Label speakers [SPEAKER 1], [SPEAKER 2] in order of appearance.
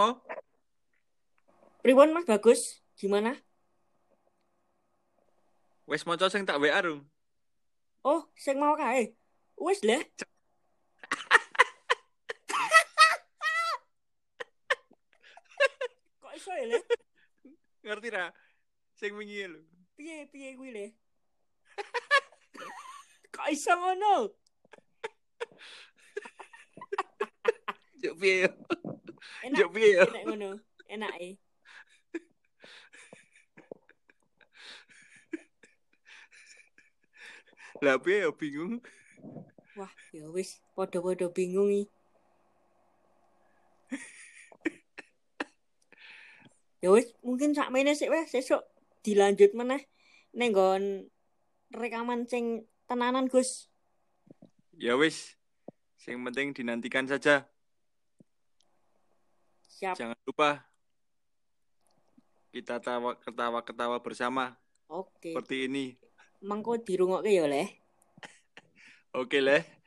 [SPEAKER 1] mau?
[SPEAKER 2] Priwon Mas Bagus, gimana?
[SPEAKER 1] Wes maca sing tak WA rum.
[SPEAKER 2] Oh, sing mau kae. Wis lah. Kok iso ya, Le?
[SPEAKER 1] Ngerti ra? Sing wingi lho.
[SPEAKER 2] Piye piye kuwi, Le? Kok iso ngono?
[SPEAKER 1] Juk piye yo?
[SPEAKER 2] Enak.
[SPEAKER 1] Juk piye yo?
[SPEAKER 2] Enak ngono. Enak e.
[SPEAKER 1] Lah piye yo bingung.
[SPEAKER 2] Wah, ya wis padha-padha bingung iki. ya wis mungkin sakmene sik wis sesuk dilanjut meneh ning nggon rekaman sing tenanan Gus.
[SPEAKER 1] Ya wis. Sing penting dinantikan saja.
[SPEAKER 2] Siap.
[SPEAKER 1] Jangan lupa kita tawa ketawa-ketawa bersama
[SPEAKER 2] Oke.
[SPEAKER 1] seperti ini.
[SPEAKER 2] Mangko dirungokke ya, Le.
[SPEAKER 1] Oke, Leh.